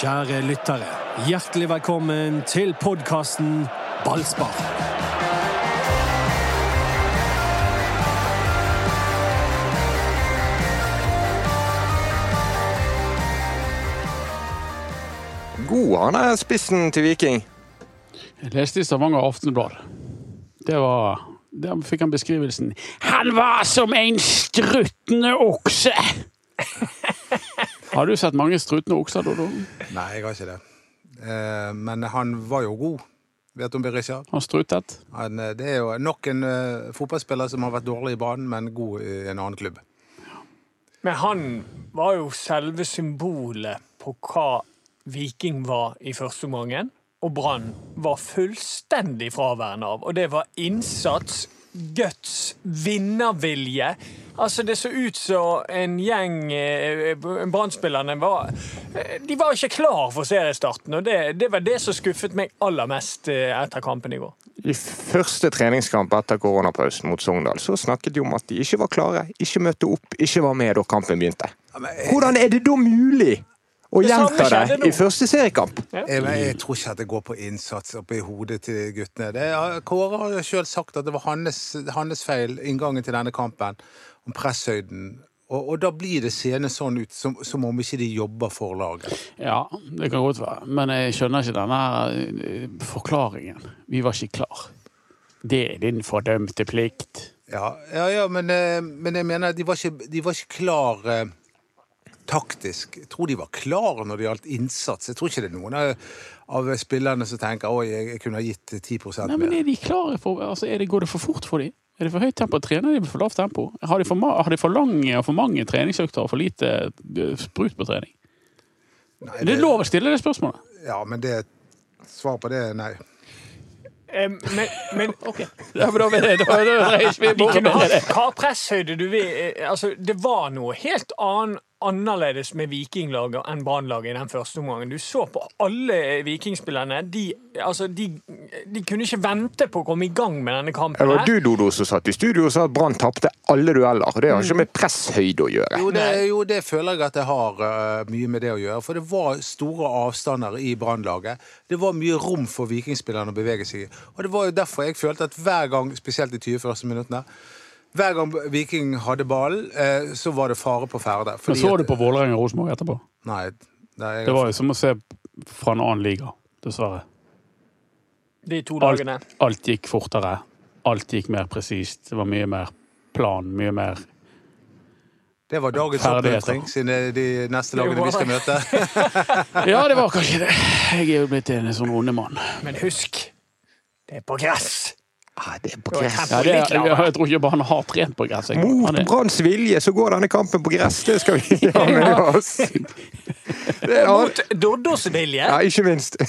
Kjære lyttere, hjertelig velkommen til podkasten Ballspar. God han er spissen til Viking. Jeg leste i Stavanger Aftenblad. Det var Der fikk han beskrivelsen. Han var som en struttende okse! Har du sett mange struttende okser, Dodo? Nei, jeg har ikke det. Eh, Men han var jo god. Vet du om Berisha? Han struttet. Han, eh, det er jo nok en eh, fotballspiller som har vært dårlig i banen, men god i en annen klubb. Men han var jo selve symbolet på hva Viking var i første omgang, og Brann var fullstendig fraværende av. Og det var innsats, guts, vinnervilje. Altså, det så ut som en gjeng eh, Brann-spillerne var eh, De var ikke klar for seriestarten, og det, det var det som skuffet meg aller mest eh, etter kampen i går. I første treningskamp etter koronapausen mot Sogndal så snakket de om at de ikke var klare, ikke møtte opp, ikke var med da kampen begynte. Hvordan er det da mulig å Det samme gjenta det skjedde nå. i første seriekamp? Jeg, men jeg tror ikke at det går på innsats oppi hodet til guttene. Det, er- eh, Kåre har jo sjøl sagt at det var hans, hans feil inngangen til denne kampen, om presshøyden. Og, og da blir det seende sånn ut, som, som om ikke de jobber for laget. Ja, det kan godt være. Men jeg skjønner ikke denne eh, forklaringen. Vi var ikke klar. Det er din fordømte plikt. Ja, ja, ja men, eh, men jeg mener at de var ikke, de var ikke klar eh, taktisk. Jeg tror de var klar når det gjaldt innsats. Jeg tror ikke det er noen av, av spillerne som tenker oi, jeg, jeg kunne ha gitt 10 Nei, men mer. er de klare for altså, er det, Går det for fort for dem? Er det for høyt tempo? Trener de med for lavt tempo? Har de for, ma har de for lange og for mange treningsøkter og for lite eh, sprut på trening? Nei, Er det det- lov å stille det spørsmålet? Ja, men det Svar på det er nei. Eh, Men, men Ja, men da vil jeg, da, da, reiser vi De kunne bordet med det. hatt hva presshøyde du vil. eh, Altså, det var noe helt annen, annerledes med vikinglaget enn Brannlaget i den første omgangen. Du så på alle eh, vikingspillerne. De, altså, de, de kunne ikke vente på å komme i gang med denne kampen. Det var her. du, Dodo, som satt i studio og sa at Brann tapte alle dueller. og Det har ikke med presshøyde å gjøre. Jo det, jo, det føler jeg at det har eh, mye med det å gjøre. For det var store avstander i Brannlaget. Det var mye rom for vikingspillerne å bevege seg i. Og det var jo derfor jeg følte at hver gang, spesielt de 20 første minuttene hver gang Viking hadde ballen, eh, så var det fare på ferde. Men så du at- på Vålerenga og Rosenborg etterpå? Nei. nei jeg, Det var jo som å se fra en annen liga, dessverre. De to Alt, dagene. alt gikk fortere. Alt gikk mer presist. Det var mye mer plan, mye mer det var dagens Ferdigheter. oppmuntring, siden det er de neste lagene var vi skal møte. Ja, det var kanskje det. Jeg er jo blitt en sånn onde mann. Men husk, det er på gress. Ah, det er på Det var gress. Ja, det, Litt jeg, lavere. tror ikke bare han har trent på gress. jeg. Han Mot er- Branns vilje så går denne kampen på gress, det skal vi ha med oss. Det er alt. Mot Doddos vilje. Ja, ikke minst.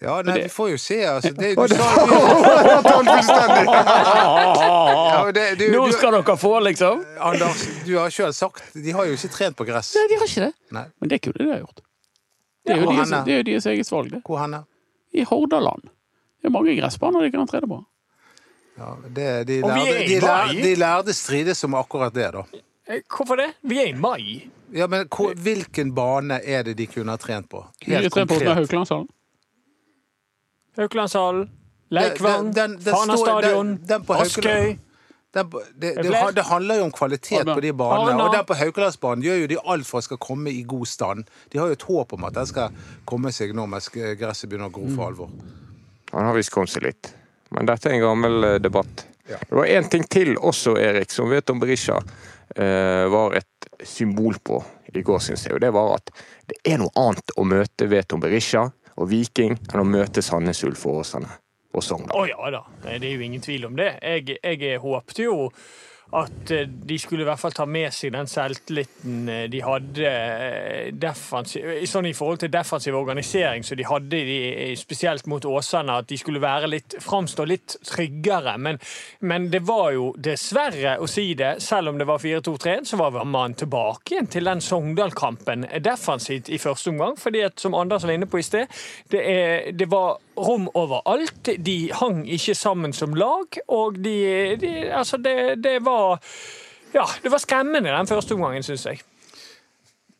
Ja, nei, vi får jo se. Altså, det, Og du det- sa jo Overtatt fullstendig. ja, men det, du, Nå du, skal dere få, liksom! Anders, du har sjøl sagt De har jo ikke trent på gress. Nei, de har ikke det. Nei. Men det kunne de ha gjort. Det er jo Ja, deres, Hanne. det er jo deres eget valg, det. Hvor hen? er? I Hordaland. Det er mange gressbaner de kan trene på. Ja, det, de, Og vi lærde, er i de, lærde, mai. de lærde strides om akkurat det, da. Eh, Hvorfor det? Vi er i mai. Ja, men hvor, Eh. Hvilken bane er det de kunne ha trent på? Mye trent på med Haukelandshallen. Haukelandshallen. Den- Leikvann, den- den står- Fana stadion, den- den på Askøy. Haukeland- Den, det, det, Eh, flere? det handler jo om kvalitet Arna. på de banene. Arna. Og der på Haukelandsbanen gjør jo de alt for at skal komme i god stand. De har jo et håp om at den skal komme seg nå mens gresset begynner å gro for Mm. alvor. Han har visst kommet seg litt. Men dette er en gammel eh, debatt. Det var én ting til også, Erik, som vet om Berisha eh, var et symbol på i går, syns jeg. Og det var at det er noe annet å møte Veton Berisha og Viking enn å møte Sandnes Ulf og Åsane og Å Sogndal. ja da, Nei, det er jo ingen tvil om det. Jeg, jeg håpte jo at eh, de skulle i hvert fall ta med seg den selvtilliten eh, de hadde eh, defensiv, eh, sånn i forhold til defensiv organisering som de hadde i, i- spesielt mot Åsane, at de skulle være litt, framstå litt tryggere. Men, men det var jo dessverre å si det, selv om det var 4-2-3, så var man tilbake igjen til den Sogndal-kampen defensivt i første omgang. fordi at, som Anders var inne på i sted, det, er, det var rom overalt. De hang ikke sammen som lag, og de, de Altså, det, det var ja, det var skremmende den første omgangen, syns jeg.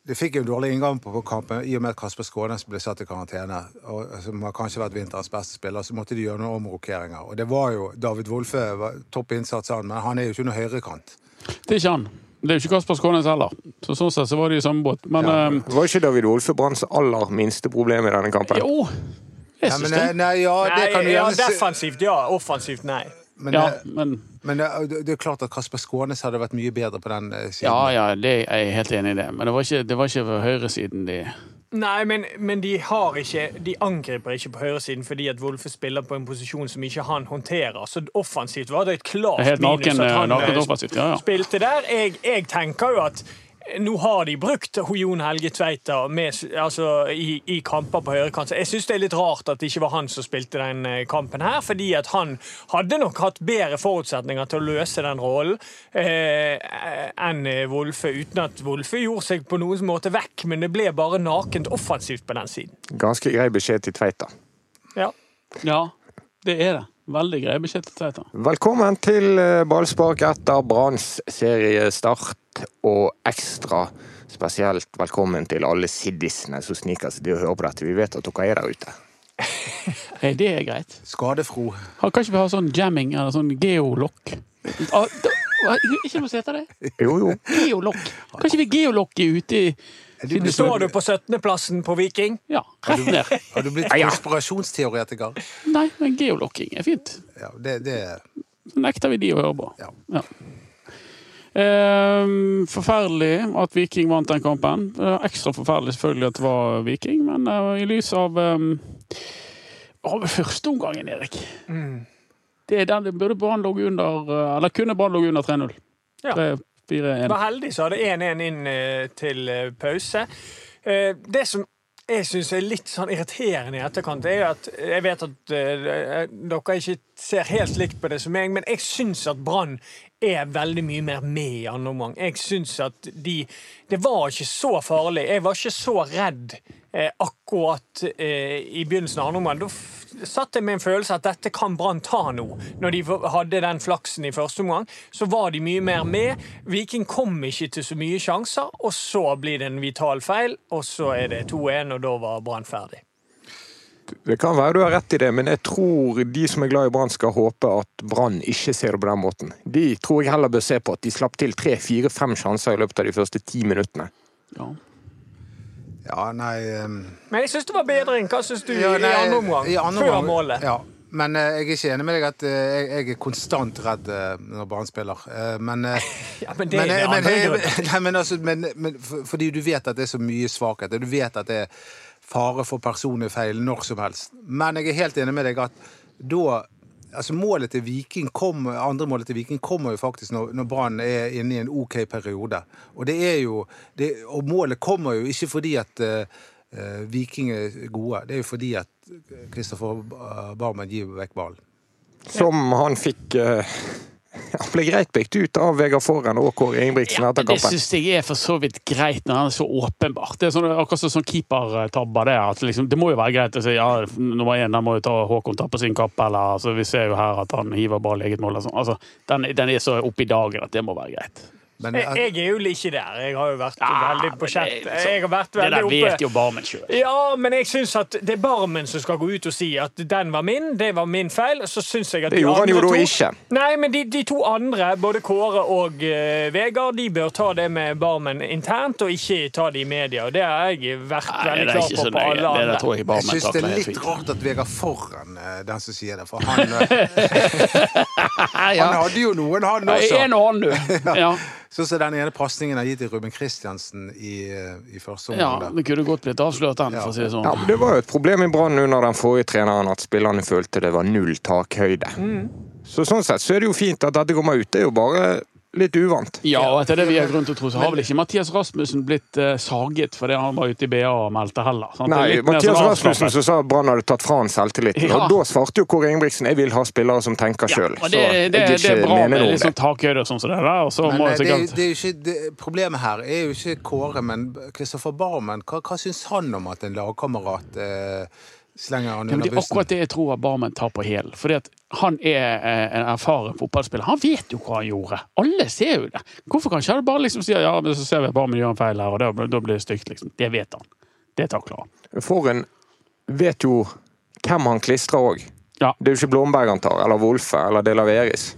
Det fikk jo en dårlig inngang på, på kampen i og med at Kasper Skånes ble satt i karantene. og Som har kanskje vært vinterens beste spiller. Så måtte de gjøre noen omrokeringer. Og det var jo David Wolfe var topp innsats, han, men han er jo ikke noe høyrekant. Det er ikke han. Det er jo ikke Kasper Skånes heller. Så sånn sett så var de i samme båt. Men eh, Det var ikke David Olfe Branns aller minste problem i denne kampen. jo, jeg Ja, men, eh, syns nei, det. nei, ja, det kan du Nei, ja, gjerne si. defensivt ja, offensivt nei. Men, Ja, eh, men men det, det er klart at Kasper Skånes hadde vært mye bedre på den eh, siden. Ja, ja, det er jeg helt enig i det. Men det var ikke, det var ikke for høyresiden de Nei, men, men de, har ikke, de angriper ikke på høyresiden fordi at Wolfe spiller på en posisjon som ikke han håndterer. Så offensivt var det et klart Helt naken, minus at han naken eh, offensivt. Ja, ja. spilte der. Jeg, jeg tenker jo at eh, nå har de brukt Jon Helge Tveita med, altså, i, i kamper på høyrekant. Så Jeg syns det er litt rart at det ikke var han som spilte den eh, kampen her, fordi at han hadde nok hatt bedre forutsetninger til å løse den rollen eh, enn eh, Wolfe, uten at Wolfe gjorde seg på noen måte vekk, men det ble bare nakent offensivt på den siden. Ganske grei beskjed til Tveita. Ja. Ja, det er det. Veldig grei beskjed til Tveita. Velkommen til eh, ballspark etter Branns seriestart, og ekstra spesielt velkommen til alle siddisene som sniker seg til å høre på dette. Vi vet at dere er der ute. Nei, det er greit. Skadefro. Har, kan ikke vi ha sånn jamming eller sånn geolokk? Ah, da- hva- Ikke noe som heter det. Jo, jo. Geolokk. Kan ikke vi geolokke ute i du- Står du på 17.-plassen på Viking? Ja, rett ned. Har du blitt Ja, ja. konspirasjonsteoretiker? Nei, men geolokking er fint. Ja, det, det Så nekter vi de å høre på. Ja. Ehm, forferdelig at Viking vant den kampen. Eh, ekstra forferdelig selvfølgelig at det var Viking, men eh, i lys av um, Av førsteomgangen, Erik Det er den det burde Brann ligge under eh, Eller kunne Brann ligge under 3-0. Ja. 3-4-1. Var heldig, så hadde 1-1 inn eh, til eh, pause. Eh, Det som jeg syns er litt sånn irriterende i etterkant, er jo at jeg vet at eh, dere ikke ser helt likt på det som meg, men jeg syns at Brann er veldig mye mer med i andre omgang. Jeg syns at de Det var ikke så farlig. Jeg var ikke så redd eh, akkurat eh, i begynnelsen av andre omgang. Da f- satt jeg med en følelse at dette kan Brann ta nå. Når de v- hadde den flaksen i første omgang, så var de mye mer med. Viking kom ikke til så mye sjanser, og så blir det en vital feil, og så er det 2-1, og da var Brann ferdig. Det kan være du har rett i det, men jeg tror de som er glad i Brann, skal håpe at Brann ikke ser det på den måten. De tror jeg heller bør se på at de slapp til tre, fire, fem sjanser i løpet av de første ti minuttene. Ja. Ja, nei ehm, Men jeg syns det var bedring. Hva syns du Ja, nei, i andre omgang? i andre før omgang- målet. Ja. Men eh, jeg er ikke enig med deg at eh, jeg, jeg er konstant redd eh, når Brann spiller. Eh, men, eh, Ja, men det er eh, det andre eh, grunnen. nei, men altså, men, men, for, fordi du vet at det er så mye svakheter. Du vet at det er fare for personlige feil når som helst. Men jeg er helt enig med deg at da Altså målet til Viking kom, Andre målet til Viking kommer jo faktisk når, når Brann er inne i en OK periode. Og det er jo, det, og målet kommer jo ikke fordi at eh, eh, Viking er gode. Det er jo fordi at Kristoffer eh, Barmen gir vekk ballen. Som han fikk eh, Han ble greit pikt ut av Vegard Forhen og Kåre Ingebrigtsen Ja, etter det kampen. syns jeg er for så vidt greit når han er så åpenbart. Det er sånn, akkurat som sånn keepertabber. Det, er at liksom, det må jo være greit å si ja, nummer én, den må jo ta Håkon ta på sin kapp, eller altså, vi ser jo her at han hiver ball i eget mål. eller sånn. Altså, den, den er så oppe i dagen at det må være greit. Men, Jeg, at- jeg er jo ikke der. Jeg har jo vært Ja, veldig på men chat. det er liksom- Jeg har vært Det veldig der oppe. vet jo Barmen sjøl. Ja, men jeg syns at det er barmen som skal gå ut og si at den var min, det var min feil. og Så syns jeg at Det de gjorde han jo andre da to- ikke. Nei, men de, de to andre, både Kåre og eh, Vegard, de bør ta det med barmen internt, og ikke ta det i media. Og det har jeg vært Det veldig er klar ikke så på på nøye. alle Det der andre. tror jeg jeg Barmen syns det takler er helt litt fint. rart at Vegard foran eh, den som sier det, for han, eh, han hadde jo noen, han også. En og annen, du. Ja. Sånn som den ene pasningen har gitt til Ruben Kristiansen i, eh, i første ja, omgang. der. det kunne godt blitt avslørt, den, for å si Ja, det sånn. men det var jo et problem i Brann under den forrige treneren at spillerne følte det var null takhøyde. Mm. Så sånn sett så er det jo fint at dette kommer ut. Det er jo bare litt uvant. Ja, og etter det vi har grunn til å tro, så har vel ikke Mathias Rasmussen blitt eh, saget fordi han var ute i BA og meldte heller. sant? Det er Nei, litt mer Mathias sånn Rasmussen avslappet. som sa at Brann hadde tatt fra han selvtilliten. Ja. Og da svarte jo Kåre Ingebrigtsen jeg vil ha spillere som tenker Ja, sjøl. og det, det, det, er bra med litt sånn takhøyde og sånn som det der. Og så Men må eh, jeg det, er jo- sikkert det er jo ikke, det, problemet her er jo ikke Kåre, men Kristoffer Barmen. Hva, hva syns han om at en lagkamerat eh, Slenger han Ja, men under det er akkurat bussen. det jeg tror at Barmen tar på hælen. Fordi at han er eh, en erfaren fotballspiller. Han vet jo hva han gjorde. Alle ser jo det. Hvorfor kan ikke han bare liksom si ja, men så ser vi at Barmen gjør en feil her, og da, da blir det stygt, liksom. Det vet han. Det takler han. Foren vet jo hvem han klistrer òg. Ja. Det er jo ikke Blomberg han tar, eller Wolfe, eller De Laveris.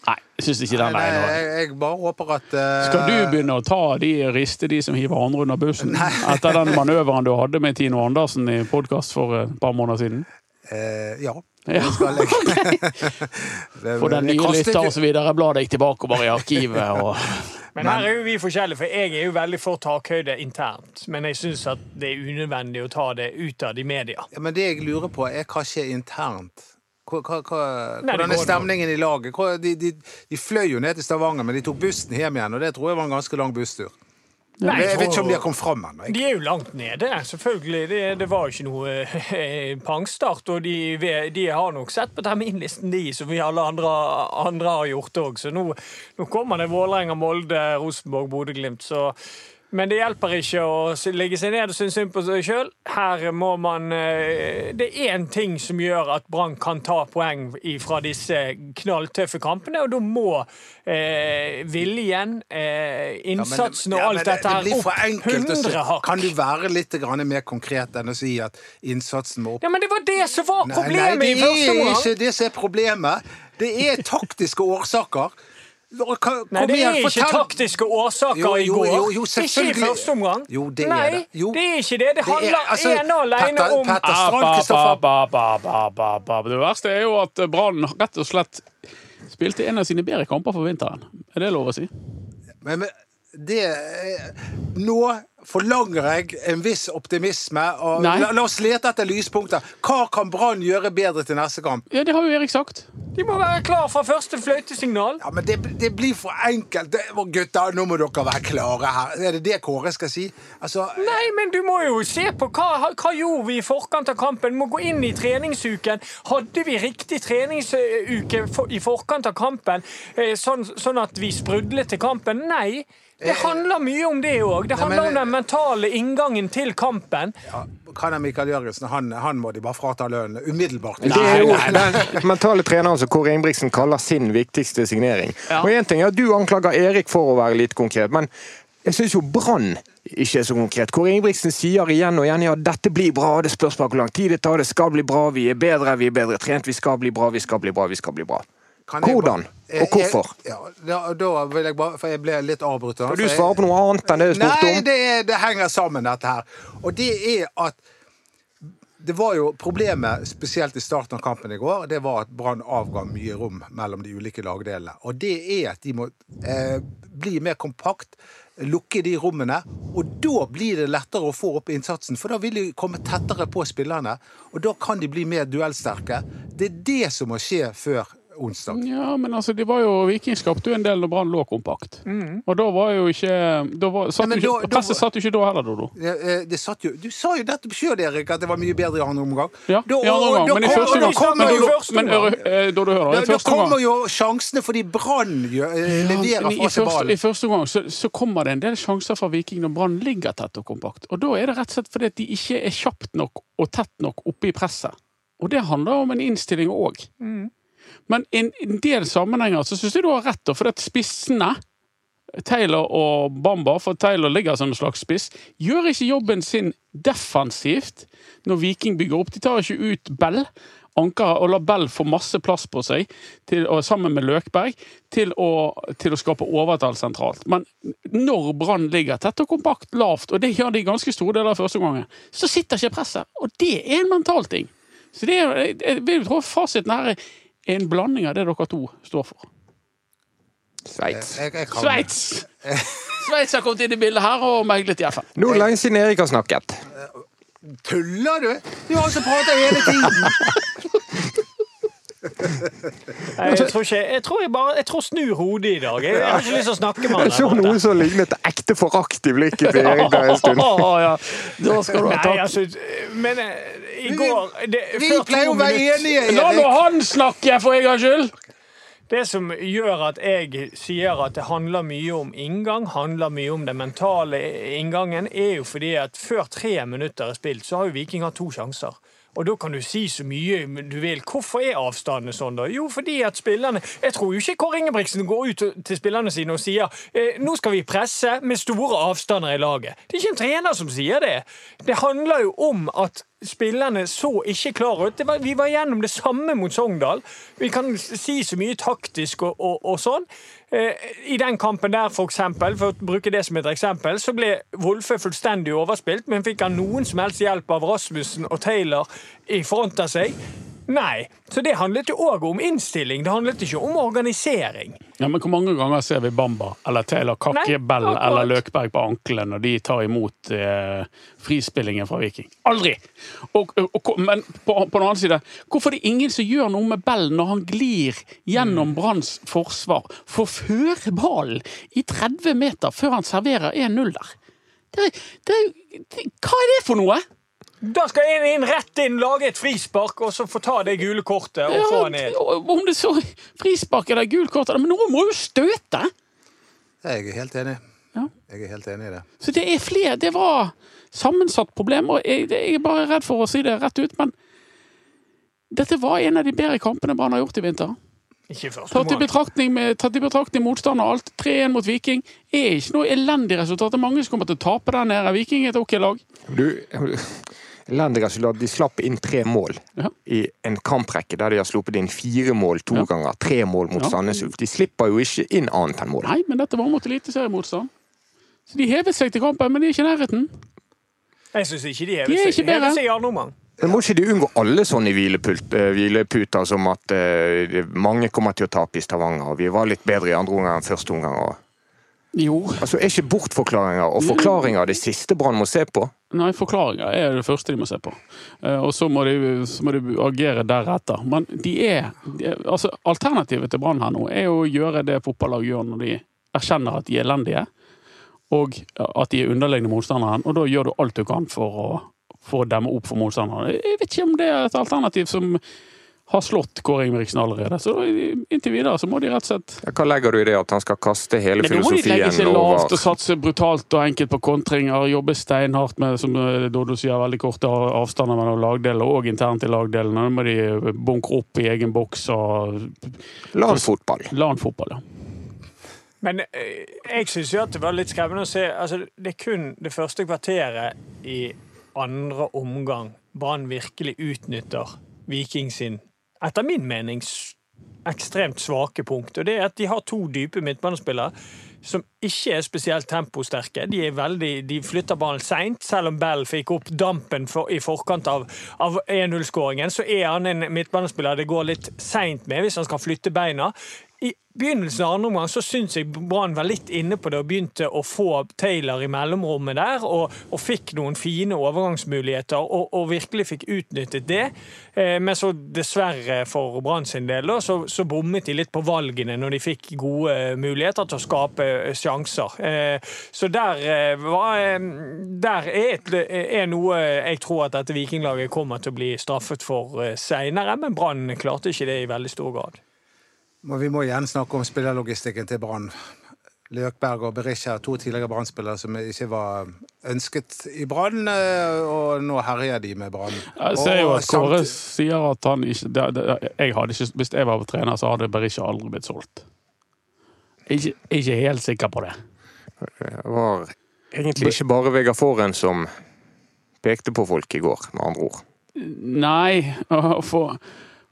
Nei, jeg syns ikke den Nei, er noe. jeg, eh, jeg bare håper at eh, Skal du begynne å ta de riste de som hiver andre under bussen? Etter den manøveren du hadde med Tino Andersen i podkast for et par måneder siden? eh, ja. Ja. Det skal jeg. Det- For den jeg nye kastet lytter ikke- og så videre, bla deg tilbake og bare i arkivet og Men her er jo vi forskjellige, for jeg er jo veldig for takhøyde internt. Men jeg syns at det er unødvendig å ta det utad i media. Ja, men det jeg lurer på, er hva skjer internt? Hva, hva, hva, Nei, det hvordan er går nå. stemningen i laget? Hva, de, de, de fløy jo ned til Stavanger, men de tok bussen hjem igjen, og det tror jeg var en ganske lang busstur. Nei, Jeg, jeg vet ikke om de har for- kommet fram ennå. jeg. De er jo langt nede, selvfølgelig. Det, det var jo ikke noe eh, pangstart. Og de, ve- de har nok sett på terminlisten, de, som vi alle andre, andre har gjort òg. Så nå, nå kommer det Vålerenga, Molde, Rosenborg, Bodø-Glimt. Så men det hjelper ikke å s- legge seg ned og synes synd på seg sjøl. Her må man eh, Det er én ting som gjør at Brann kan ta poeng fra disse knalltøffe kampene, og da må eh, viljen, eh, Ja, men- innsatsen ja, og men alt dette her Det blir for opp enkelt å si. 100 hakk. Kan du være litt grann mer konkret enn å si at innsatsen må opp? Ja, men det var det som var problemet det i første er omgang! ikke det som er problemet. Det er taktiske årsaker. Kom Nei, det er igjen, ikke fortell- taktiske årsaker Jo, i jo, går. jo, jo, ikke i selvfølgelig. første omgang. Jo, det er Nei, det. Jo. det er ikke det. Det er- handler altså, ene og alene Petter- om Petter- Ah, Strand, ba, Kristoffer. ba, ba, ba, ba, ba. Det verste er jo at eh, Brann rett og slett spilte en av sine bedre kamper for vinteren. Er det lov å si? Men, men det eh, Nå forlanger jeg en viss optimisme. Og Nei. la, la oss lete etter lyspunkter. Hva kan Brann gjøre bedre til neste kamp? Ja, det har jo Erik sagt. De må være klar fra første fløytesignal. Ja, men Det, det blir for enkelt. Det, å, gutter, nå må dere være klare her. Er det det Kåre skal si? Altså, Nei, men du må jo se på hva, hva gjorde vi i forkant av kampen. Må gå inn i treningsuken. Hadde vi riktig treningsuke for, i forkant av kampen, eh, sånn, sånn at vi sprudlet til kampen? Nei. Det handler mye om det òg. Det Nei, men- handler om den mentale inngangen til kampen. ja, kan jeg Mikael Jørgensen? Han, han må de bare frata lønnen umiddelbart. Det er jo den mentale treneren som Kåre Ingebrigtsen kaller sin viktigste signering. Ja. Og en ting er at Du anklager Erik for å være lite konkret, men jeg syns jo Brann ikke er så konkret. Kåre Ingebrigtsen sier igjen og igjen ja, dette blir bra, det spørs bare hvor lang tid det tar, det skal bli bra, vi er bedre, vi er bedre trent, vi skal bli bra, vi skal bli bra, vi skal bli bra. Kan jeg Hvordan bare- Eh, og hvorfor? Jeg, ja, da, da vil jeg bare For jeg ble litt avbrutt. Altså, Kan du svare på noe annet enn det du spurte Nei, om? det, er, det henger sammen, dette her. Og det er at det var jo Problemet spesielt i starten av kampen i går det var at Brann avga mye rom mellom de ulike lagdelene. Og det er at de må eh, bli mer kompakt, lukke de rommene. Og da blir det lettere å få opp innsatsen, for da vil de komme tettere på spillerne. Og da kan de bli mer duellsterke. Det er det som må skje før onsdag. Ja, men altså, det var jo Viking skapte jo en del når Brann lå kompakt. Og da var jo ikke Mm. da var, satt Ja, men jo da- ikke, da- Presset satt jo ikke da heller, Dodo. Eh, eh, Det satt jo, du sa jo nettopp sjøl, Erik, at det var mye bedre i andre omgang. Ja, Da- i andre og- og omgang. da Men i kom- første og da omgang. kommer Men, jo- Dodo, men eh, Dodo, hør, da. Da, I da første kommer omgang jo sjansene fordi Brann gjør- eh, Ja, leverer men i, fra seg første, I ballen. første omgang så, så kommer det en del sjanser fra Viking når Brann ligger tett og kompakt. Og Da er det rett og slett fordi at de ikke er kjapt nok og tett nok oppe i presset. Og det handler om en innstilling òg. Men i en, en del sammenhenger så syns jeg du har rett, da, fordi at spissene Taylor og Bamba, for Taylor ligger som en slags spiss, gjør ikke jobben sin defensivt når Viking bygger opp. De tar ikke ut Bell, Anker og lar Bell få masse plass på seg, til, og sammen med Løkberg, til å, til å skape overtall sentralt. Men når Brann ligger tett og kompakt lavt, og det gjør de i ganske store deler av første gangen, så sitter ikke presset. Og det er en mental ting. Så det er, jeg- jeg vil tro fasiten her er en blanding av det dere to står for. Sveits. Jeg- jeg kan- Sveits! Sveits har kommet inn i bildet her og meglet i FN. Nå er det lenge siden Erik har snakket. Tuller du? Du har altså pratet hele tiden! Nei, Eh, jeg tror ikke Jeg tror jeg bare Jeg tror snur hodet i dag. Jeg, jeg har ikke lyst til å snakke med han. Jeg så der borte. noe som lignet ekte forakt i blikket til Erik der en stund. Å, ja. Da skal du ha Nei, takk. altså Men eh, i går det, Vi før to pleier å være minutter- enige, La nå Erik. han snakke, for en gangs skyld! Det som gjør at jeg sier at det handler mye om inngang, handler mye om den mentale inngangen, er jo fordi at før tre minutter er spilt, så har jo Viking hatt to sjanser. Og da kan du si så mye du vil. Hvorfor er avstandene sånn, da? Jo, fordi at spillerne Jeg tror jo ikke Kåre Ingebrigtsen går ut til spillerne sine og sier eh, nå skal vi presse med store avstander i laget. Det er ikke en trener som sier det. Det handler jo om at spillerne så ikke klar ut. Det var, vi var gjennom det samme mot Sogndal. Vi kan si så mye taktisk og, og, og sånn. Eh, I den kampen der, for eksempel, for å bruke det som et eksempel, så ble Wolfe fullstendig overspilt, men fikk han noen som helst hjelp av Rasmussen og Taylor i front av seg? Nei. Så det handlet jo òg om innstilling. Det handlet ikke om organisering. Ja, men Hvor mange ganger ser vi Bamba eller Taylor Kakke Nei, Bell akkurat. eller Løkberg på ankelen når de tar imot eh, frispillingen fra Viking? Aldri! Og, og, og, men på, på den annen side, hvorfor er det ingen som gjør noe med Bell når han glir gjennom Branns forsvar? Forfører ballen i 30 meter før han serverer 1-0 der. Det, er- det, er- det, hva er det for noe? Da skal en inn rett inn, lage et frispark, og så få ta det gule kortet og få han ned. og- og om det så frispark eller gult kort, men noen må jo støte! Jeg er helt enig. Ja. Jeg er helt enig i det. Så det er flere Det var sammensatt problem, og jeg, det- jeg er bare redd for å si det rett ut, men dette var en av de bedre kampene Brann har gjort i vinter. Ikke først. Tatt i betraktning, med, tatt i betraktning motstand og alt, 3-1 mot Viking er ikke noe elendig resultat. Det er mange som kommer til å tape der nede. Viking er et ok lag. Du, elendig resultat. De slapp inn tre mål Ja. i en kamprekke der de har sluppet inn fire mål to Ja. ganger. Tre mål mot Ja. Sandnes Ulf. De slipper jo ikke inn annet enn mål. Nei, men dette var mot eliteseriemotstand. Så de hevet seg til kampen, men de er ikke i nærheten. Jeg syns ikke de De er hever ikke seg. bedre. Hever seg i andre omgang. Men må ikke de unngå alle sånne hvilepult, eh, hvileputer som at eh, det- mange kommer til å tape i Stavanger, og vi var litt bedre i andre omgang enn første omgang? Og... Jo. Altså, Er ikke bortforklaringer og forklaringer det siste Brann må se på? Nei, forklaringer er det første de må se på. Eh, Og så må de, så må de agere deretter. Men de er, de er altså Alternativet til Brann her nå er jo å gjøre det fotballag gjør når de erkjenner at de er elendige, og at de er underlegne motstanderen, og da gjør du alt du kan for å, for å demme opp for motstanderen. Jeg vet ikke om det er et alternativ som har slått Kåre Ingebrigtsen allerede. Så da, inntil videre så må de rett og slett Ja, Hva legger du i det at han skal kaste hele Nei, da må de legge filosofien seg lavt over og satse brutalt og enkelt på kontringer. Jobbe steinhardt med som eh, Dodo sier, veldig korte av- avstander mellom lagdeler og internt i lagdelene. Da må de eh, bunkre opp i egen boks og landfotball? LAN-fotball. ja. Men eh, jeg syns jo at det var litt skremmende å se altså, Det er kun det første kvarteret i andre omgang Brann virkelig utnytter Viking sin, etter min mening, s- ekstremt svake punkt. Og det er at de har to dype midtbanespillere som ikke er spesielt temposterke. De, er veldig, de flytter ballen seint, selv om Bell fikk opp dampen for, i forkant av, av 1-0-skåringen. Så er han en midtbanespiller det går litt seint med hvis han skal flytte beina. I begynnelsen av andre omgang så syns jeg Brann var litt inne på det og begynte å få Taylor i mellomrommet der, og, og fikk noen fine overgangsmuligheter og, og virkelig fikk utnyttet det. Eh, men så dessverre for Brann sin del da, så, så bommet de litt på valgene når de fikk gode eh, muligheter til å skape eh, sjanser. Eh, så der, eh, var, eh, der er, et, er noe jeg tror at dette vikinglaget kommer til å bli straffet for eh, seinere, men Brann klarte ikke det i veldig stor grad. Men vi må igjen snakke om spillerlogistikken til Brann. Løkberg og Berisha, to tidligere Brann-spillere som ikke var ønsket i Brann, eh, og nå herjer de med Brann. Jeg ser jo Og at Kåre samt- sier at han ikke, det, det, jeg hadde ikke Hvis jeg var trener, så hadde Berisha aldri blitt solgt. Jeg er ikke- jeg er ikke helt sikker på det. Det var egentlig ikke bare Vegard Foren som pekte på folk i går, med andre ord. Nei, for,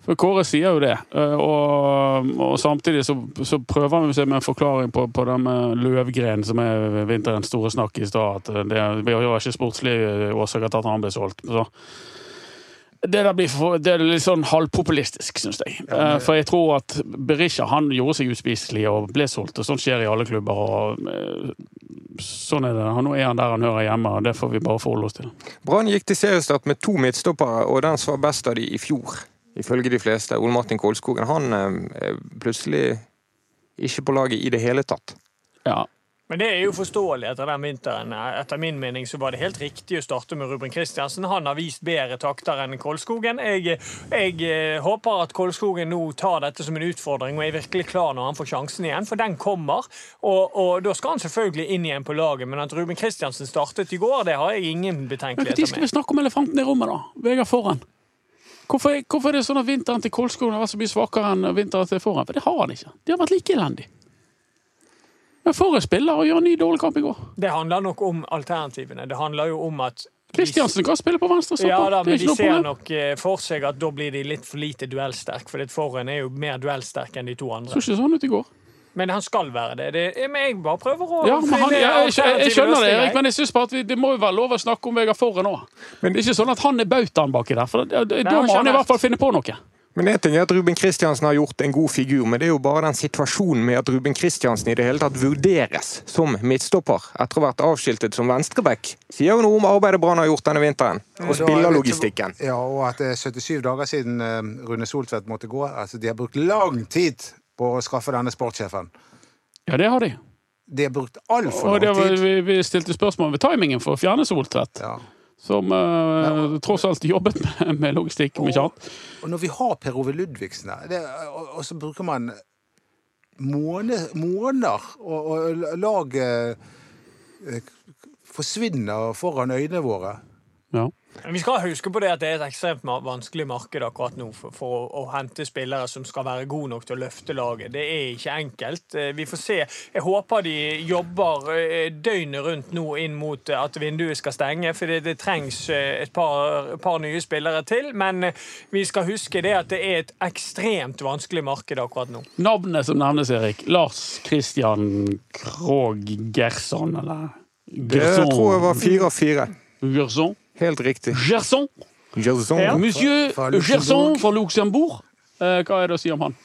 for Kåre sier jo det. Eh, Og, og samtidig så, så prøver han jo seg med en forklaring på, på det med Løvgren, som er vinterens store snakk i stad. At eh, det det var ikke sportslige eh, årsaker til at han ble solgt. Så. Det der blir for, det er litt sånn halvpopulistisk, syns jeg. Eh, For jeg tror at Berisha han gjorde seg uspiselig og ble solgt, og sånt skjer i alle klubber. og eh, Sånn er det. Nå er han der han hører hjemme, og det får vi bare forholde oss til. Brann gikk til seriestart med to midtstoppere, og den som var best av de i fjor, ifølge de fleste, Ole Martin Kolskogen, han eh, er plutselig ikke på laget i det hele tatt. Ja, Men det er jo forståelig etter den vinteren. Etter min mening så var det helt riktig å starte med Ruben Kristiansen. Han har vist bedre takter enn Kolskogen. Jeg, jeg eh, håper at Kolskogen nå tar dette som en utfordring og er virkelig klar når han får sjansen igjen, for den kommer. Og, og da skal han selvfølgelig inn igjen på laget, men at Ruben Kristiansen startet i går, det har jeg ingen Men Når betenkeligheter skal vi med. snakke om elefanten i rommet, da? Vegard Foran. Hvorfor, er- hvorfor er det sånn at vinteren til Kolskogen har vært så mye svakere enn vinteren til Forhen? For det har han ikke. De har vært like elendig. Men Forhen spiller og gjør en ny dårlig kamp i går. Det handler nok om alternativene. Det handler jo om at Kristiansen kan spille på venstre stopper. Ja da, det men er de ikke noe ser problem. nok eh, for seg at da blir de litt for lite duellsterk, for Forhen er jo mer duellsterk enn de to Så andre. ikke sånn ut i går. Men han skal være det. det er- men jeg bare prøver å Ja, men han, finne ja, jeg, skjø- jeg alternative skjønner det, løsninger, jeg. Erik, men jeg synes bare at vi, det må jo være lov å snakke om Vegard Forhen òg. Det er ikke sånn at han er bautaen baki der. for Da da- da han må han i skjønner. hvert fall finne på noe. Men en ting er at Ruben Kristiansen har gjort en god figur, men det er jo bare den situasjonen med at Ruben Kristiansen i det hele tatt vurderes som midtstopper etter å ha vært avskiltet som venstreback, sier jo noe om arbeidet Brann har gjort denne vinteren, Mm. og spillerlogistikken. Ja, og at det er 77 dager siden eh, Rune Soltvedt måtte gå. Altså, de har brukt lang tid på å skaffe denne sportssjefen. Ja, det har de. De har brukt Og altfor det lang var, tid. vi, vi stilte spørsmål ved timingen for å fjerne Soltvedt, Ja. som eh, tross alt jobbet med, med logistikk, om ikke annet. Og når vi har Per Ove Ludvigsen her, det, og, og så bruker man måned, måneder og, og laget eh, forsvinner foran øynene våre. Ja. Men Vi skal huske på det at det er et ekstremt ma- vanskelig marked akkurat nå for, for å, å hente spillere som skal være gode nok til å løfte laget. Det er ikke enkelt. Eh, Vi får se. Jeg håper de jobber eh, døgnet rundt nå inn mot eh, at vinduet skal stenge, for det, det trengs eh, et par, par nye spillere til. Men eh, vi skal huske det at det er et ekstremt vanskelig marked akkurat nå. Navnet som nevnes, Erik. Lars Christian Krogh Gerson, eller Det tror jeg var fire av fire. Gerson. Helt riktig. Gerson. Eh, Gerson. Monsieur Fra- fra Luxembourg. Gerson fra Luxembourg. Eh, hva er det å si om han?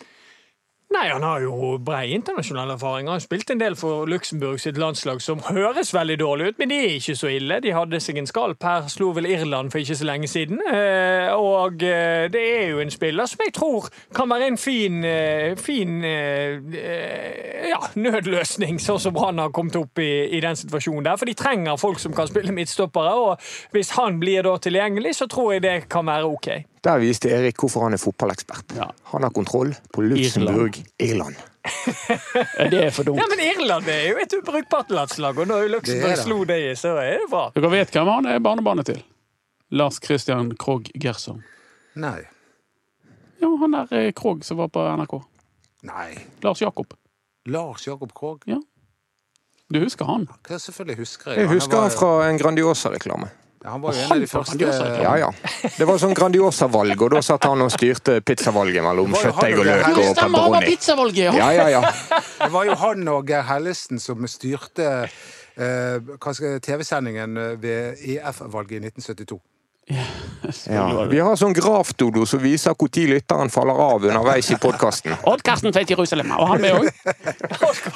Nei, han har jo brei internasjonal erfaring. Han spilte en del for Luxembourg sitt landslag, som høres veldig dårlig ut, men de er ikke så ille. De hadde seg en skalp her, slo vel Irland for ikke så lenge siden. Eh, Og eh, det er jo en spiller som jeg tror kan være en fin, eh, fin eh, eh, ja, nødløsning, sånn som han har kommet opp i, i den situasjonen der. For de trenger folk som kan spille midtstoppere, og hvis han blir da tilgjengelig, så tror jeg det kan være ok. Der viste Erik hvorfor han er fotballekspert. Ja. Han har kontroll på Luxembourg, Irland. Eh, Det er for dumt. Ja, men Irland er jo et ubrukbart landslag, og når Det er Luxembourg det. slo det i, så er det bra. Dere vet hvem han er barnebarnet til? Lars Christian Krogh Gerson. Nei. Ja, han der eh, Krogh som var på NRK. Nei. Lars Jakob. Lars Jakob Krogh. Du husker han? Hva selvfølgelig husker jeg. Jeg Han husker var- han fra en Grandiosa-reklame. Han var jo en Han av de fra første Grandiosa, ja. Ja, ja. Det var sånn Grandiosa-valg, og da satt han og styrte pizzavalget mellom Det var jo kjøttdeig og han og løk og pepperoni. pizzavalget! Ja, ja, ja. Det var jo han og Geir Hellesen som styrte eh, hva skal jeg- TV-sendingen ved EF-valget i 1972. ja. Vi har sånn grafdodo som viser når lytteren faller av underveis i podkasten. Odd Karsten Tveit Jerusalem, og han med òg.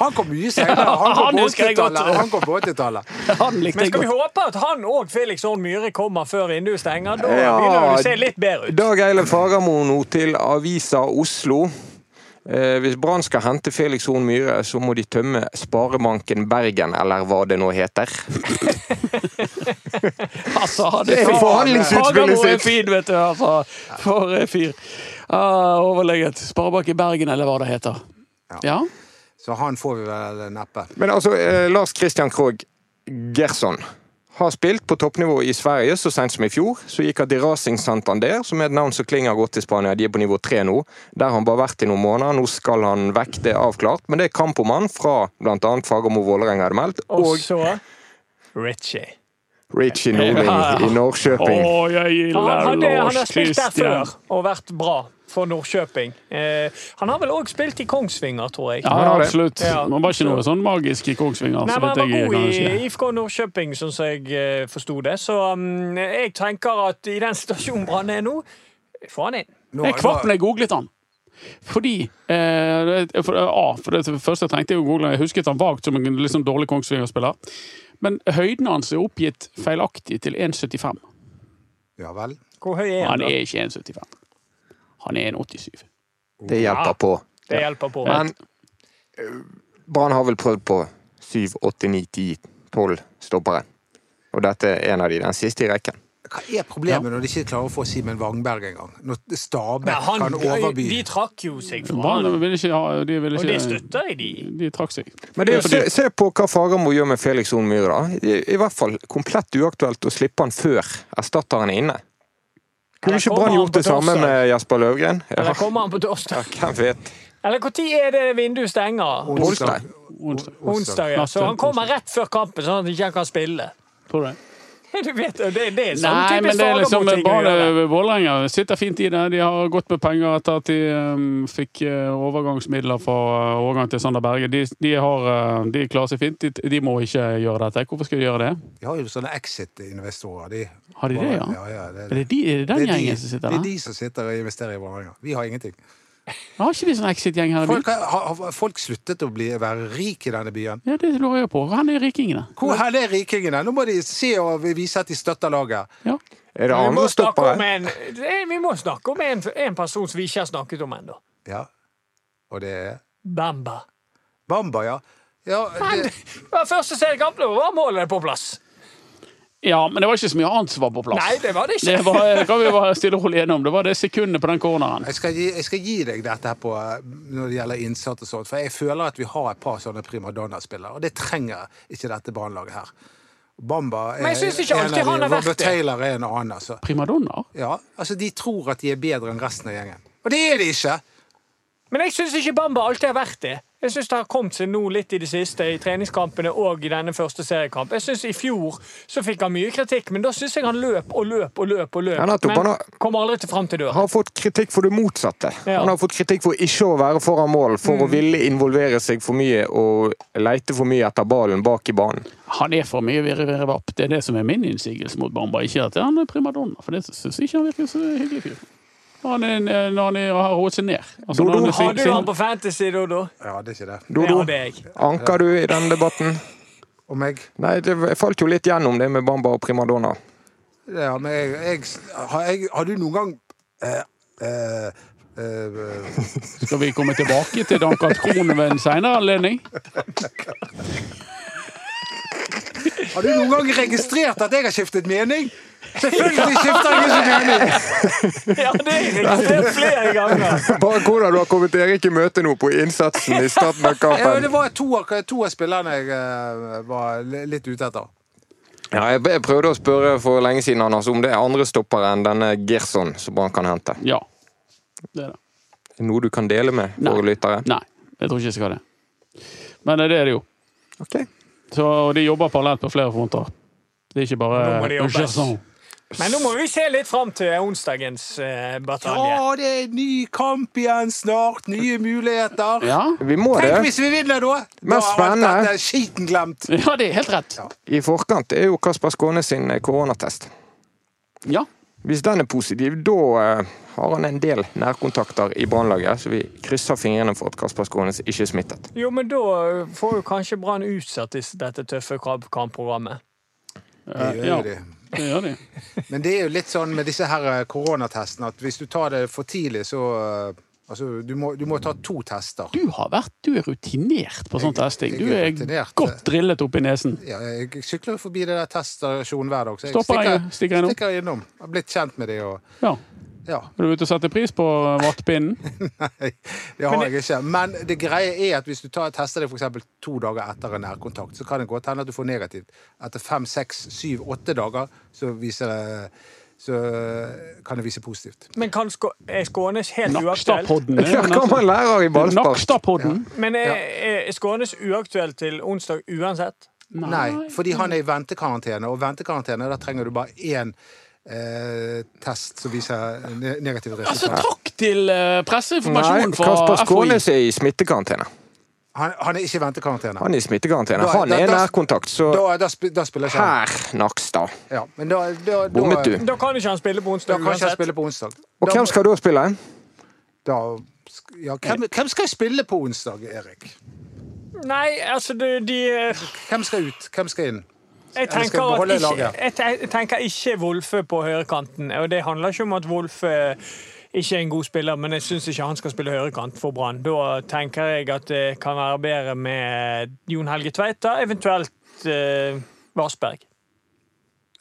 Han kom mye senere. Han han kom på husker jeg godt. 80-tallet. Han kom på 80-tallet. Han likte Men jeg skal vi godt. håpe at han og Felix Horn Myhre kommer før vinduet stenger? Da Ja, begynner det å se litt bedre ut. Dag Eile Fagermo nå til Avisa Oslo. Eh, hvis Brann skal hente Felix Horn Myhre, så må de tømme Sparebanken Bergen, eller hva det nå heter. Altså, han Det er fin. forhandlingsutspillet Fagermo er sitt. fin, vet du. Altså. For en fyr. Ah, overlegent. Sparebank i Bergen, eller hva det heter. Ja. Så han får vi vel neppe. Men altså, eh, Lars Christian Krogh Gerson har spilt på toppnivå i Sverige så sent som i fjor. Så gikk han til Racing Santander, som er et navn som klinger godt i Spania. De er på nivå tre nå. Der har han bare vært i noen måneder. Nå skal han vekk, det er avklart. Men det er kamp om han fra bl.a. Fagermo Vålerenga hadde meldt, Og og så Ritchie. Richie Norling Ja. i Å, Norrköping. jeg Han, gillar hadde, han har Lars spilt der Christian. før og vært bra for Norrköping. Eh, han har vel òg spilt i Kongsvinger, tror jeg. Ja, har det. absolutt. Ja. Han var ikke noe sånn magisk i Kongsvinger. Nei, så men vidt jeg han kan var god huske. i IFK Nordkjøping, sånn som jeg eh, forsto det. Så mm, jeg tenker at i den situasjonen Brann er nå, få han inn. Nå- Jeg kvapp når jeg googlet han. Fordi eh, det- for, A, for det første jeg trengte jeg å google Jeg husket han vagt som en litt sånn dårlig Kongsvinger-spiller. Men høyden hans er oppgitt feilaktig til 1,75. Ja vel. Hvor høy er Han han? da? er ikke 1,75. Han er 1,87. Det hjelper på. Det hjelper på. Men eh, Brann har vel prøvd på 7, 8, 9, 10, 12 stoppere. Og dette er en av de, den siste i rekken. Hva er problemet når de ikke klarer å få Simen Wangberg engang? Når Men Stabæk han, kan overby. de trakk jo seg fra Brann han, ville ikke ha De, ville og det ikke, støtter jeg de i. de trakk seg. Men det er, Det er for se, se på hva Fagermo gjør med Felix Horn Myhre. da. I, I hvert fall komplett uaktuelt å slippe han før erstatteren er inne. Kunne ikke kommer Brann han gjort på det samme torsdag? med Jasper Løvgren? Ja, Eller kommer han på torsdag? hvem vet. Eller når er det vinduet stenger? Olsnei. Onsdag. Onsdag, ja. Så han kommer rett før kampen, sånn at han ikke kan spille. Tror du det? Du vet, det, det er sånn Nei, men typisk det er liksom Fagermo-ting å gjøre. Brann Vålerenga sitter fint i det. De har gått med penger etter at de um, fikk eh, overgangsmidler fra eh, overgang til Sander Berge. De, de, har, eh, de klarer seg fint. De, de må ikke gjøre dette. Hvorfor skal de gjøre det? De har jo sånne exit-investorer. De. Har de det, ja? ja, ja det, Er det, de, er det den det er de- gjengen som sitter Det der? er de som sitter og investerer i Vålerenga. Vi har ingenting. Har ikke de sånn Exit-gjeng her i Folk byen? har, har- har folk sluttet å bli, være rik i denne byen? Ja, det lurer jeg på. Han er rikingene. Hvor her er rikingene? Nå må de se og vise at de støtter laget. Ja. Er det Vi må andre snakke om stoppere? en, det- vi må snakke om en, en person som vi ikke har snakket om ennå. Ja. Og det er Bamba. Bamba, ja. ja det, Det var første seriekampen, og var målet på plass? ja, men det var ikke så mye annet som var på plass. Nei, det var det Det ikke. var, kan vi bare stille og rolig gjennom. Det var det sekundet på den corneren. jeg, skal gi, jeg skal gi deg dette her på, eh, når det gjelder innsats og sånt, for jeg føler at vi har et par sånne primadonna-spillere, og det trenger ikke dette brannlaget her. Bamba er Men jeg synes ikke en alltid av de, han har vært Robert det. Taylor er en annen, altså. Primadonnaer? Ja, altså, de tror at de er bedre enn resten av gjengen. Og det er de ikke! Men jeg syns ikke Bamba alltid har vært det. Jeg syns det har kommet seg nå litt i det siste, i treningskampene og i denne første seriekamp. Jeg synes I fjor så fikk han mye kritikk, men da syns jeg han løp og løp og løp og løp. Han har to men baller. kom aldri til fram til døra. Han har fått kritikk for det motsatte. Ja. Han har fått kritikk for ikke å være foran mål, Mm. for å ville involvere seg for mye og leite for mye etter ballen bak i banen. Han er for mye virre-virre-vapp. Det er det som er min innsigelse mot Bamba. Ikke at han er primadonna, for det syns jeg ikke han virker så hyggelig fyr. Når han, er, eh, når han er, har roet seg ned. Altså, når han er Har sin- du sin- han på Fantasy, Dodo? Ja, det er ikke det. Det Dodo, hadde jeg. anker du i denne debatten? Og meg? Nei, det falt jo litt gjennom det med Bamba og primadonna. Ja, men jeg, jeg, har, jeg, har du noen gang eh, eh, eh, Skal vi komme tilbake til Dankan Krohn ved en senere anledning? Har du noen gang registrert at jeg har skiftet mening? Selvfølgelig skifter jeg ikke mening! Ja, det har jeg registrert flere ganger. Bare hvordan du har kommet Erik i møte nå på innsatsen i starten av Ja, men kampen. det var to av, to av spillerne jeg eh, var li- litt ute etter. Ja, jeg jeg prøvde å spørre for lenge siden Anders, om det er andre stoppere enn denne Gerson som Brann kan hente. Ja. Det er det. Noe du kan dele med våre Nei. lyttere? Nei, jeg tror ikke jeg skal det. Men det er det jo. Ok. Så, og de jobber parallelt på flere fronter. Det er ikke Nå må bare de jobbe. Men nå må vi se litt fram til onsdagens eh, batalje. Ja, det er ny kamp igjen snart. Nye muligheter. Ja. Vi må Tenk det. hvis vi vinner, da! Men Da har alt spennende. dette skiten glemt. ja, det er helt rett. I forkant er jo Kasper Skåne sin eh, koronatest. Ja. Hvis den er positiv, da eh, har han en del nærkontakter i Brannlaget, så vi krysser fingrene for at Kasper Skånes ikke er smittet. Jo, men da eh, får jo kanskje Brann utsatt dis- dette tøffe krabb- kampprogrammet. Det gjør ja. jo de. Det gjør de. Men det er jo litt sånn med disse her eh, koronatestene at hvis du tar det for tidlig, så eh, Altså, du må, du må ta to tester. Du har vært, du er rutinert på sånn testing. jeg Du er er rutinert. eh. godt drillet opp i nesen. Ja, jeg jeg sykler jo forbi det der teststasjonen hver dag, så jeg Stopper stikker, jeg- stikker jeg innom. stikker innom. Jeg har blitt kjent med de og Ja. Ja, Er du ute og setter pris på vattpinnen? nei, det har jeg ikke. Men det greie er at hvis du tar, tester deg for eksempel to dager etter en nærkontakt, så kan det godt hende at du får negativt. Etter fem, seks, syv, åtte dager så, viser det, så kan det vise positivt. Men kan Skå er Skånes helt uaktuell? Nakstadpodden. Ja, hva altså, man lærer i ballspark? Nakstadpodden. Men er, er Skånes uaktuell til onsdag uansett? Nei. fordi han er i ventekarantene, og ventekarantene, da trenger du bare én eh, test som viser ne negativt Altså, resultat. takk til eh, Nei, presseinformasjonen fra Kasper FHI. Skånes er i smittekarantene. Han, han er ikke i ventekarantene. Han er i smittekarantene. Da- Han da- er da- nærkontakt, så Da, da, sp da spiller ikke han. her, Nakstad. Ja, men da, da, da, Bommet du. Da kan ikke han spille på Da onsdag kan ikke jeg uansett. spille på onsdag. Og Da- hvem skal da spille? da, sk- ja, hvem, hvem skal jeg spille på onsdag, Erik? Nei, altså, de, de Hvem skal ut? Hvem skal inn? jeg, skal tenker at beholde ikke, laget. jeg te- jeg tenker ikke Wolfe på høyrekanten. Og det handler ikke om at Wolfe eh, ikke er en god spiller, men jeg syns ikke han skal spille høyrekant for Brann. Da tenker jeg at det kan være bedre med Jon Helge Tveita, eventuelt eh, Varsberg.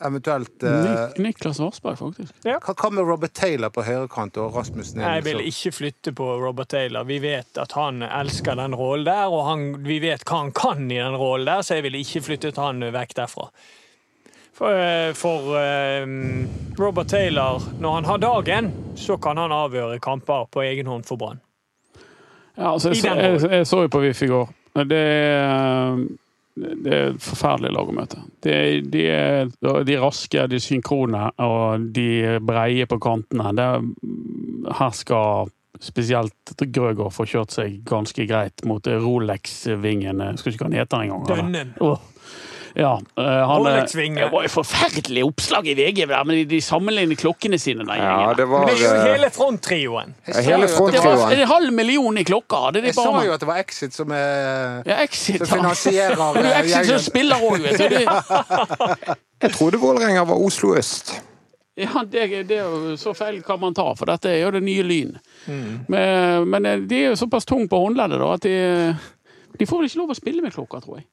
Eventuelt eh, Nik Niklas Varsberg, faktisk. Hva hva med Robert Taylor på høyrekant og Rasmus Nei, Jeg vil Nilsen? ikke flytte på Robert Taylor. Vi vet at han elsker den rollen der, og han, vi vet hva han kan i den rollen der, så jeg ville ikke flyttet han vekk derfra. For, eh, for eh, Robert Taylor, når han har dagen, så kan han avgjøre kamper på egen hånd for Brann. Ja, altså, jeg, I så- den rollen. jeg, jeg så jo på VIF i går. Det er, eh, det er et forferdelig lag å møte. De, de, er, de er raske, de er synkrone og de er breie på kantene. Det, her skal spesielt Grøgaard få kjørt seg ganske greit mot Rolex-vingene. Jeg Husker ikke hva han heter engang. eller? Dønnen. Åh. Ja, eh, han, Rolex-vinge. det var jo forferdelig oppslag i VG, der, men de, de sammenligner klokkene sine. Den Ja, gjengen. det var Men det er eh, jo hele fronttrioen. Ja, hele Jeg sa jo at det Det var- var fronttrioen. en halv million i klokker! hadde de Jeg sa bare jo at det var Exit som er Ja, Exit. Som finansierer, eh, ja. Men du er Exit som gjengen. spiller òg, vet du. Det- Jeg trodde Vålerenga var Oslo øst. Ja, det, det er jo så feil kan man ta, for dette er jo det nye lyn. Men, eh, men de er jo såpass tunge på håndleddet da, at de, de får vel ikke lov å spille med klokka, tror jeg.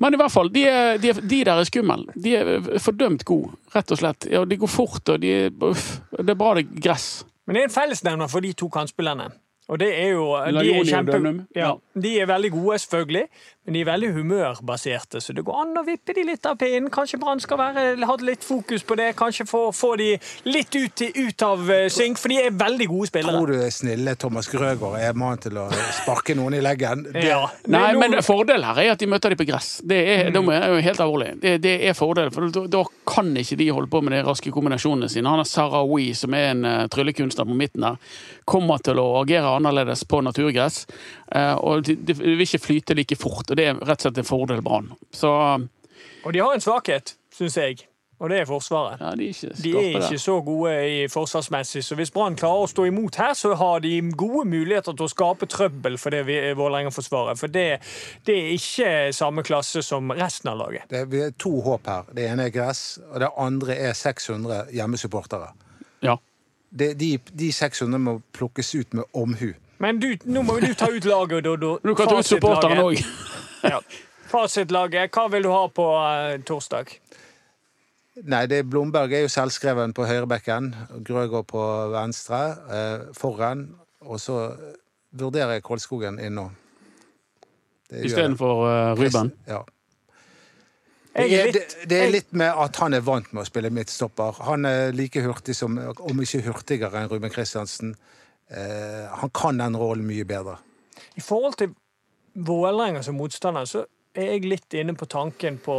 Men i hvert fall, de, er, de, er, de der er skumle. De er fordømt gode, rett og slett. Ja, de går fort, og de er uff, Det er bra det er gress. Men det er en fellesnevner for de to kantspillerne. Og det er jo de Laioni er, og kjempe, Dønnum. ja, de er veldig gode, selvfølgelig, men de er veldig humørbaserte. Så det går an å vippe de litt av pinnen. Kanskje Brann skal være- ha litt fokus på det. Kanskje få, få de litt ut, ut av eh, synk, for de er veldig gode Tror spillere. du det snille Thomas Grøgaard er mannen til å sparke noen i leggen? Det, Ja. Det er Nei, noe- men fordelen her er at de møter dem på gress. Det er, da må jeg- er jo helt alvorlig. Det, det er fordelen, for da, da kan ikke de holde på med de raske kombinasjonene sine. Han er Sarawi, som er en eh, tryllekunstner på midten der, kommer til å agere annerledes på naturgress. eh, og de, de vil ikke flyte like fort, og det er rett og slett en fordel Brann. Så Og de har en svakhet, syns jeg, og det er Forsvaret. ja, de er ikke De skarpe er der. ikke så gode i forsvarsmessig, så hvis Brann klarer å stå imot her, så har de gode muligheter til å skape trøbbel for det vi- Vålerenga-forsvaret. For det, det er ikke samme klasse som resten av laget. det er to håp her. Det ene er gress, og det andre er 600 hjemmesupportere. Ja. Det, de, de 600 må plukkes ut med omhu. Men du, nå må jo du ta ut laget, Doddo. Du kan ta ut supporteren òg. Ja. Fasitlaget, hva vil du ha på eh, torsdag? Nei, det Blomberg er jo selvskreven på høyrebekken, Grøgaard på venstre, eh, foran, og så eh, vurderer jeg Kolskogen inn nå. Det gjør jeg. Istedenfor uh, Ruben. Ja. Jeg Det er er, det, litt, det er jeg- litt med at han er vant med å spille midtstopper. Han er like hurtig som, om ikke hurtigere enn Ruben Kristiansen. Eh, han kan den rollen mye bedre. I forhold til Vålerenga som motstander, så er jeg litt inne på tanken på,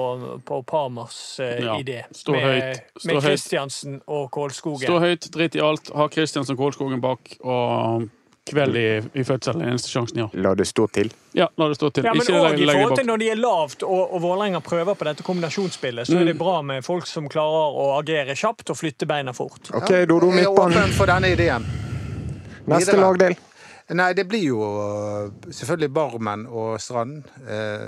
på Parmers eh, Ja, idé. stå med, høyt, stå med høyt. Kristiansen og Kålskogen. Stå høyt, drit i alt, ha Kristiansen Kålskogen bak, og kveld i, i fødselen er eneste sjansen de har. La det stå til. Ja, la det stå til. Ja, men Ikke også legg i legg det forhold bak. til når de er lavt og, og Vålerenga prøver på dette kombinasjonsspillet, Mm. så er det bra med folk som klarer å agere kjapt og flytte beina fort. OK, Dodo Jeg er Midtbanen. åpen for denne ideen. Neste videre. lagdel. Nei, det blir jo eh, selvfølgelig Barmen og Strand. Eh,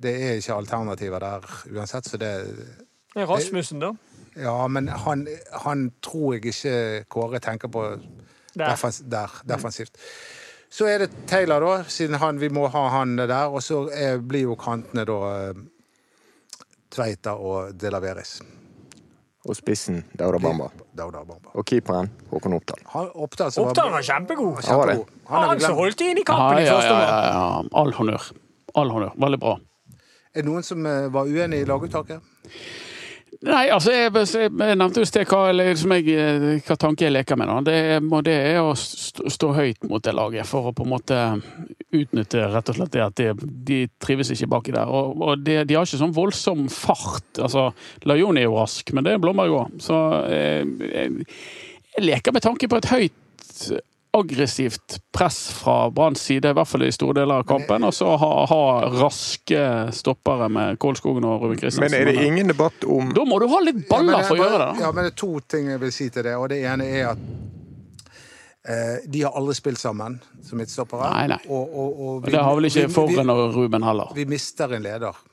det er ikke alternativer der uansett, så det Det er Rasmussen, da. Ja, men han, han tror jeg ikke Kåre tenker på Der. Defens der, defensivt. Så er det Taylor, da, siden han, vi må ha han der. Og så er, blir jo kantene da eh, Tveita og De La Veris. Og spissen Dauda Bamba. Dauda Bamba. Og keeperen Håkon Oppdal. Han Oppdal som Oppdal var kjempegod. Ja, var det. kjempegod. Han har Han vi som glemt. holdt de inn i kampen i første omgang. ja, ja. All honnør. All honnør. Veldig bra. Er det noen som eh, var uenig i laguttaket? Nei, altså, jeg, jeg, jeg nevnte jo i sted hva, eller som jeg, eh, hva tanke jeg leker med. Da. Det, må- det er å stå, stå høyt mot det laget, for å på en måte utnytte rett og slett det at de, de trives ikke baki der. Og, og de, de har ikke sånn voldsom fart. Altså, Lajoni er jo rask, men det er Blomberg òg. Så eh, jeg, jeg leker med tanke på et høyt aggressivt press fra Branns side, i hvert fall i store eh, deler av kampen, og så ha, ha raske stoppere med Kålskogen og Ruben eh, Kristiansen. Men er det ingen debatt om Da må du ha litt Ja, men baller det- for å gjøre det. da. Ja, men det er to ting jeg vil si til det. Og det ene er at eh, de har aldri spilt sammen som midtstoppere. Nei, nei. Og, og, og Det har vel ikke Forren vi, og Ruben heller. vi mister en leder.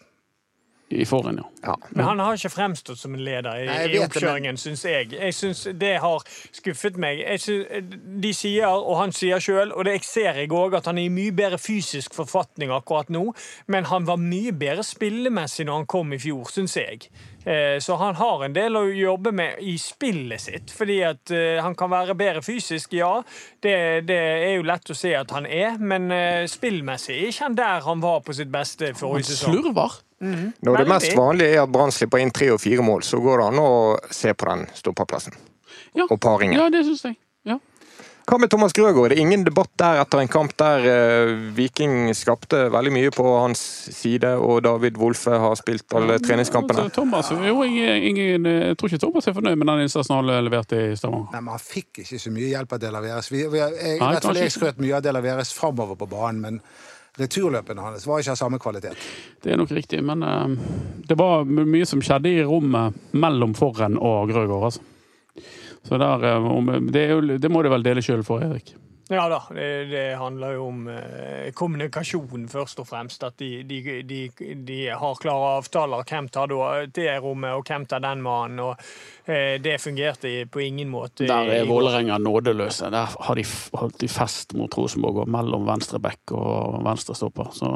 I Forren, ja. Ja. Men han har ikke fremstått som en leder i, Nei, jeg i vet det, oppkjøringen, syns jeg. Jeg synes Det har skuffet meg. Jeg synes, de sier, og han sier sjøl, og det jeg ser jeg òg, at han er i mye bedre fysisk forfatning akkurat nå, men han var mye bedre spillemessig når han kom i fjor, syns jeg. Eh, Så han har en del å jobbe med i spillet sitt, fordi at eh, han kan være bedre fysisk, ja. Det, det er jo lett å se at han er, men eh, spillmessig er ikke han der han var på sitt beste Han forrige sesong. slurver. Når det Veldig. mest vanlige er at Brann slipper inn tre og fire mål, så går det an å se på den stoppeplassen. Ja. Og paringen. Ja, det syns jeg. Ja. Hva med Thomas Grøgaard? Det er ingen debatt der etter en kamp der eh, Viking skapte veldig mye på hans side, og David Wolfe har spilt alle treningskampene. Så Thomas, jo, jeg, ingen, jeg tror ikke Thomas er fornøyd med den innsatsen han leverte i Stavanger. Nei, men Han fikk ikke så mye hjelp av De La Veres. Vi, vi, jeg, i Nei, hvert fall kanskje jeg ikke. skrøt mye av De La Veres framover på banen, men returløpene hans var ikke av samme kvalitet. Det er nok riktig, men eh, det var my- mye som skjedde i rommet mellom Forren og Grøgaard. Altså. Så der, eh, om- det, er jo, det må du vel dele skyld for, Erik. Ja da, det, det handler jo om eh, kommunikasjon først og fremst. At de, de, de, de har klare avtaler. Hvem tar da det rommet, og hvem tar den mannen? Og, eh, det fungerte i- på ingen måte. Der i- er i- Vålerenga nådeløse. Der har de f- holdt i fest mot Rosenborg og mellom venstre back og venstre stopper. Så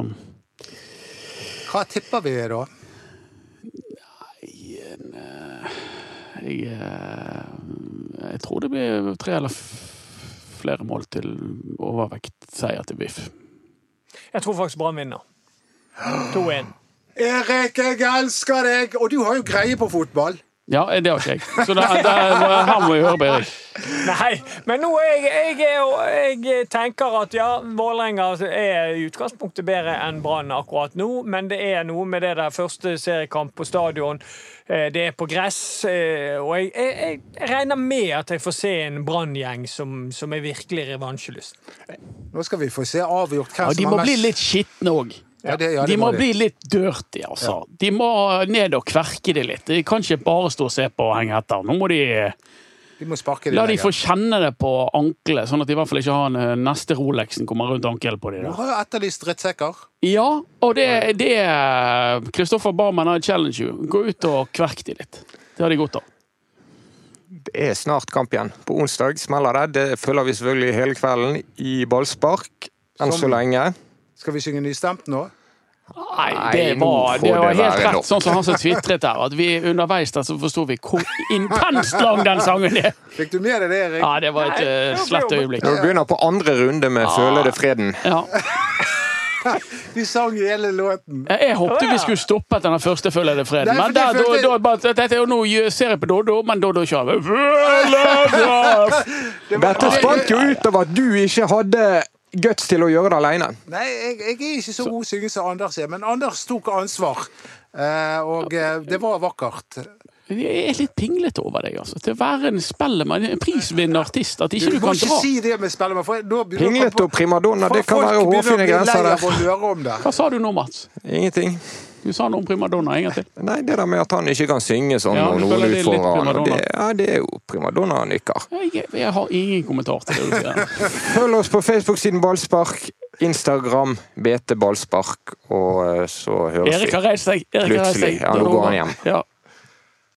Hva tipper vi da? jeg, eh, jeg tror det blir tre eller f flere mål til overvektseier til BIF. Jeg tror faktisk Brann vinner. 2-1. Erik, jeg elsker deg! Og du har jo greie på fotball. Ja, det har ikke jeg. Så da, da, her må vi høre på Erik. Nei, men nå er jeg, jeg, er jo- jeg tenker at ja, Vålerenga er i utgangspunktet bedre enn Brann akkurat nå, men det er noe med det der første seriekamp på stadion. eh, Det er på gress, eh, og jeg, jeg, jeg regner med at jeg får se en Brann-gjeng som, som er virkelig revansjelysten. Nå skal vi få se avgjort hvem Ja, de som må har bli mest litt skitne òg. Ja, det- ja, det de må må de. bli litt dirty, altså. De må ned og kverke det litt. De kan ikke bare stå og se på og henge etter. Nå må de De må sparke La de lenger. få kjenne det på ankelet, sånn at de i hvert fall ikke har en eh, neste Rolexen kommer rundt ankelen på de Du der. har jo etterlyst drittsekker. Ja, og det, det er Kristoffer Barmen har challenge you. Gå ut og kverk de litt. Det har de godt av. Det er snart kamp igjen. På onsdag smeller det. Det følger vi selvfølgelig hele kvelden i ballspark. Enn så Som- lenge. Skal vi synge nystemt nå? Nei, Nei, det nå var, får det var det helt være rett, nok. sånn som han som tvitret der. At vi underveis der så forsto vi hvor intenst lang den sangen er. Fikk du med deg det, Erik? Ja, det var et eh, slett øyeblikk. Når vi begynner på andre runde med 'Føler det freden', Ja. Vi sang hele låten. Jeg jeg håpte vi skulle stoppet den første Følg det freden, Nei, for men det der, da, følte- da, bare, dette er jo nå ser jeg på Doddo, men Doddo kjører vi. Følg det freden! Dette spant jo ut av at du ikke hadde guts til å gjøre det aleine. Nei, jeg, jeg er ikke så god synger som Anders er, men Anders tok ansvar. Eh, og eh, det var vakkert. Jeg er litt pinglete over deg, altså. Til å være en spellemann, en prisvinnende artist, at Du, ikke du må kan ikke dra. si det med spellemann. for da begynner folk- Pinglete og primadonna, det kan folk være begynner å hårfine bli grenser lei av der. å høre om det. Hva sa du nå, Mats? Ingenting. Du sa noe om primadonna en gang til. Nei, det der med at han ikke kan synge sånn Ja, og du noen føler det er litt utfordrer han, og primadonna. det, ja, det er jo primadonna han nikker. Jeg, jeg har ingen kommentar til det du sier. Følg oss på Facebook-siden Ballspark, Instagram BT Ballspark, og eh, så høres Erik vi. har reist seg. Erik har reist Plutselig. seg. Ja, nå går han hjem. Ja.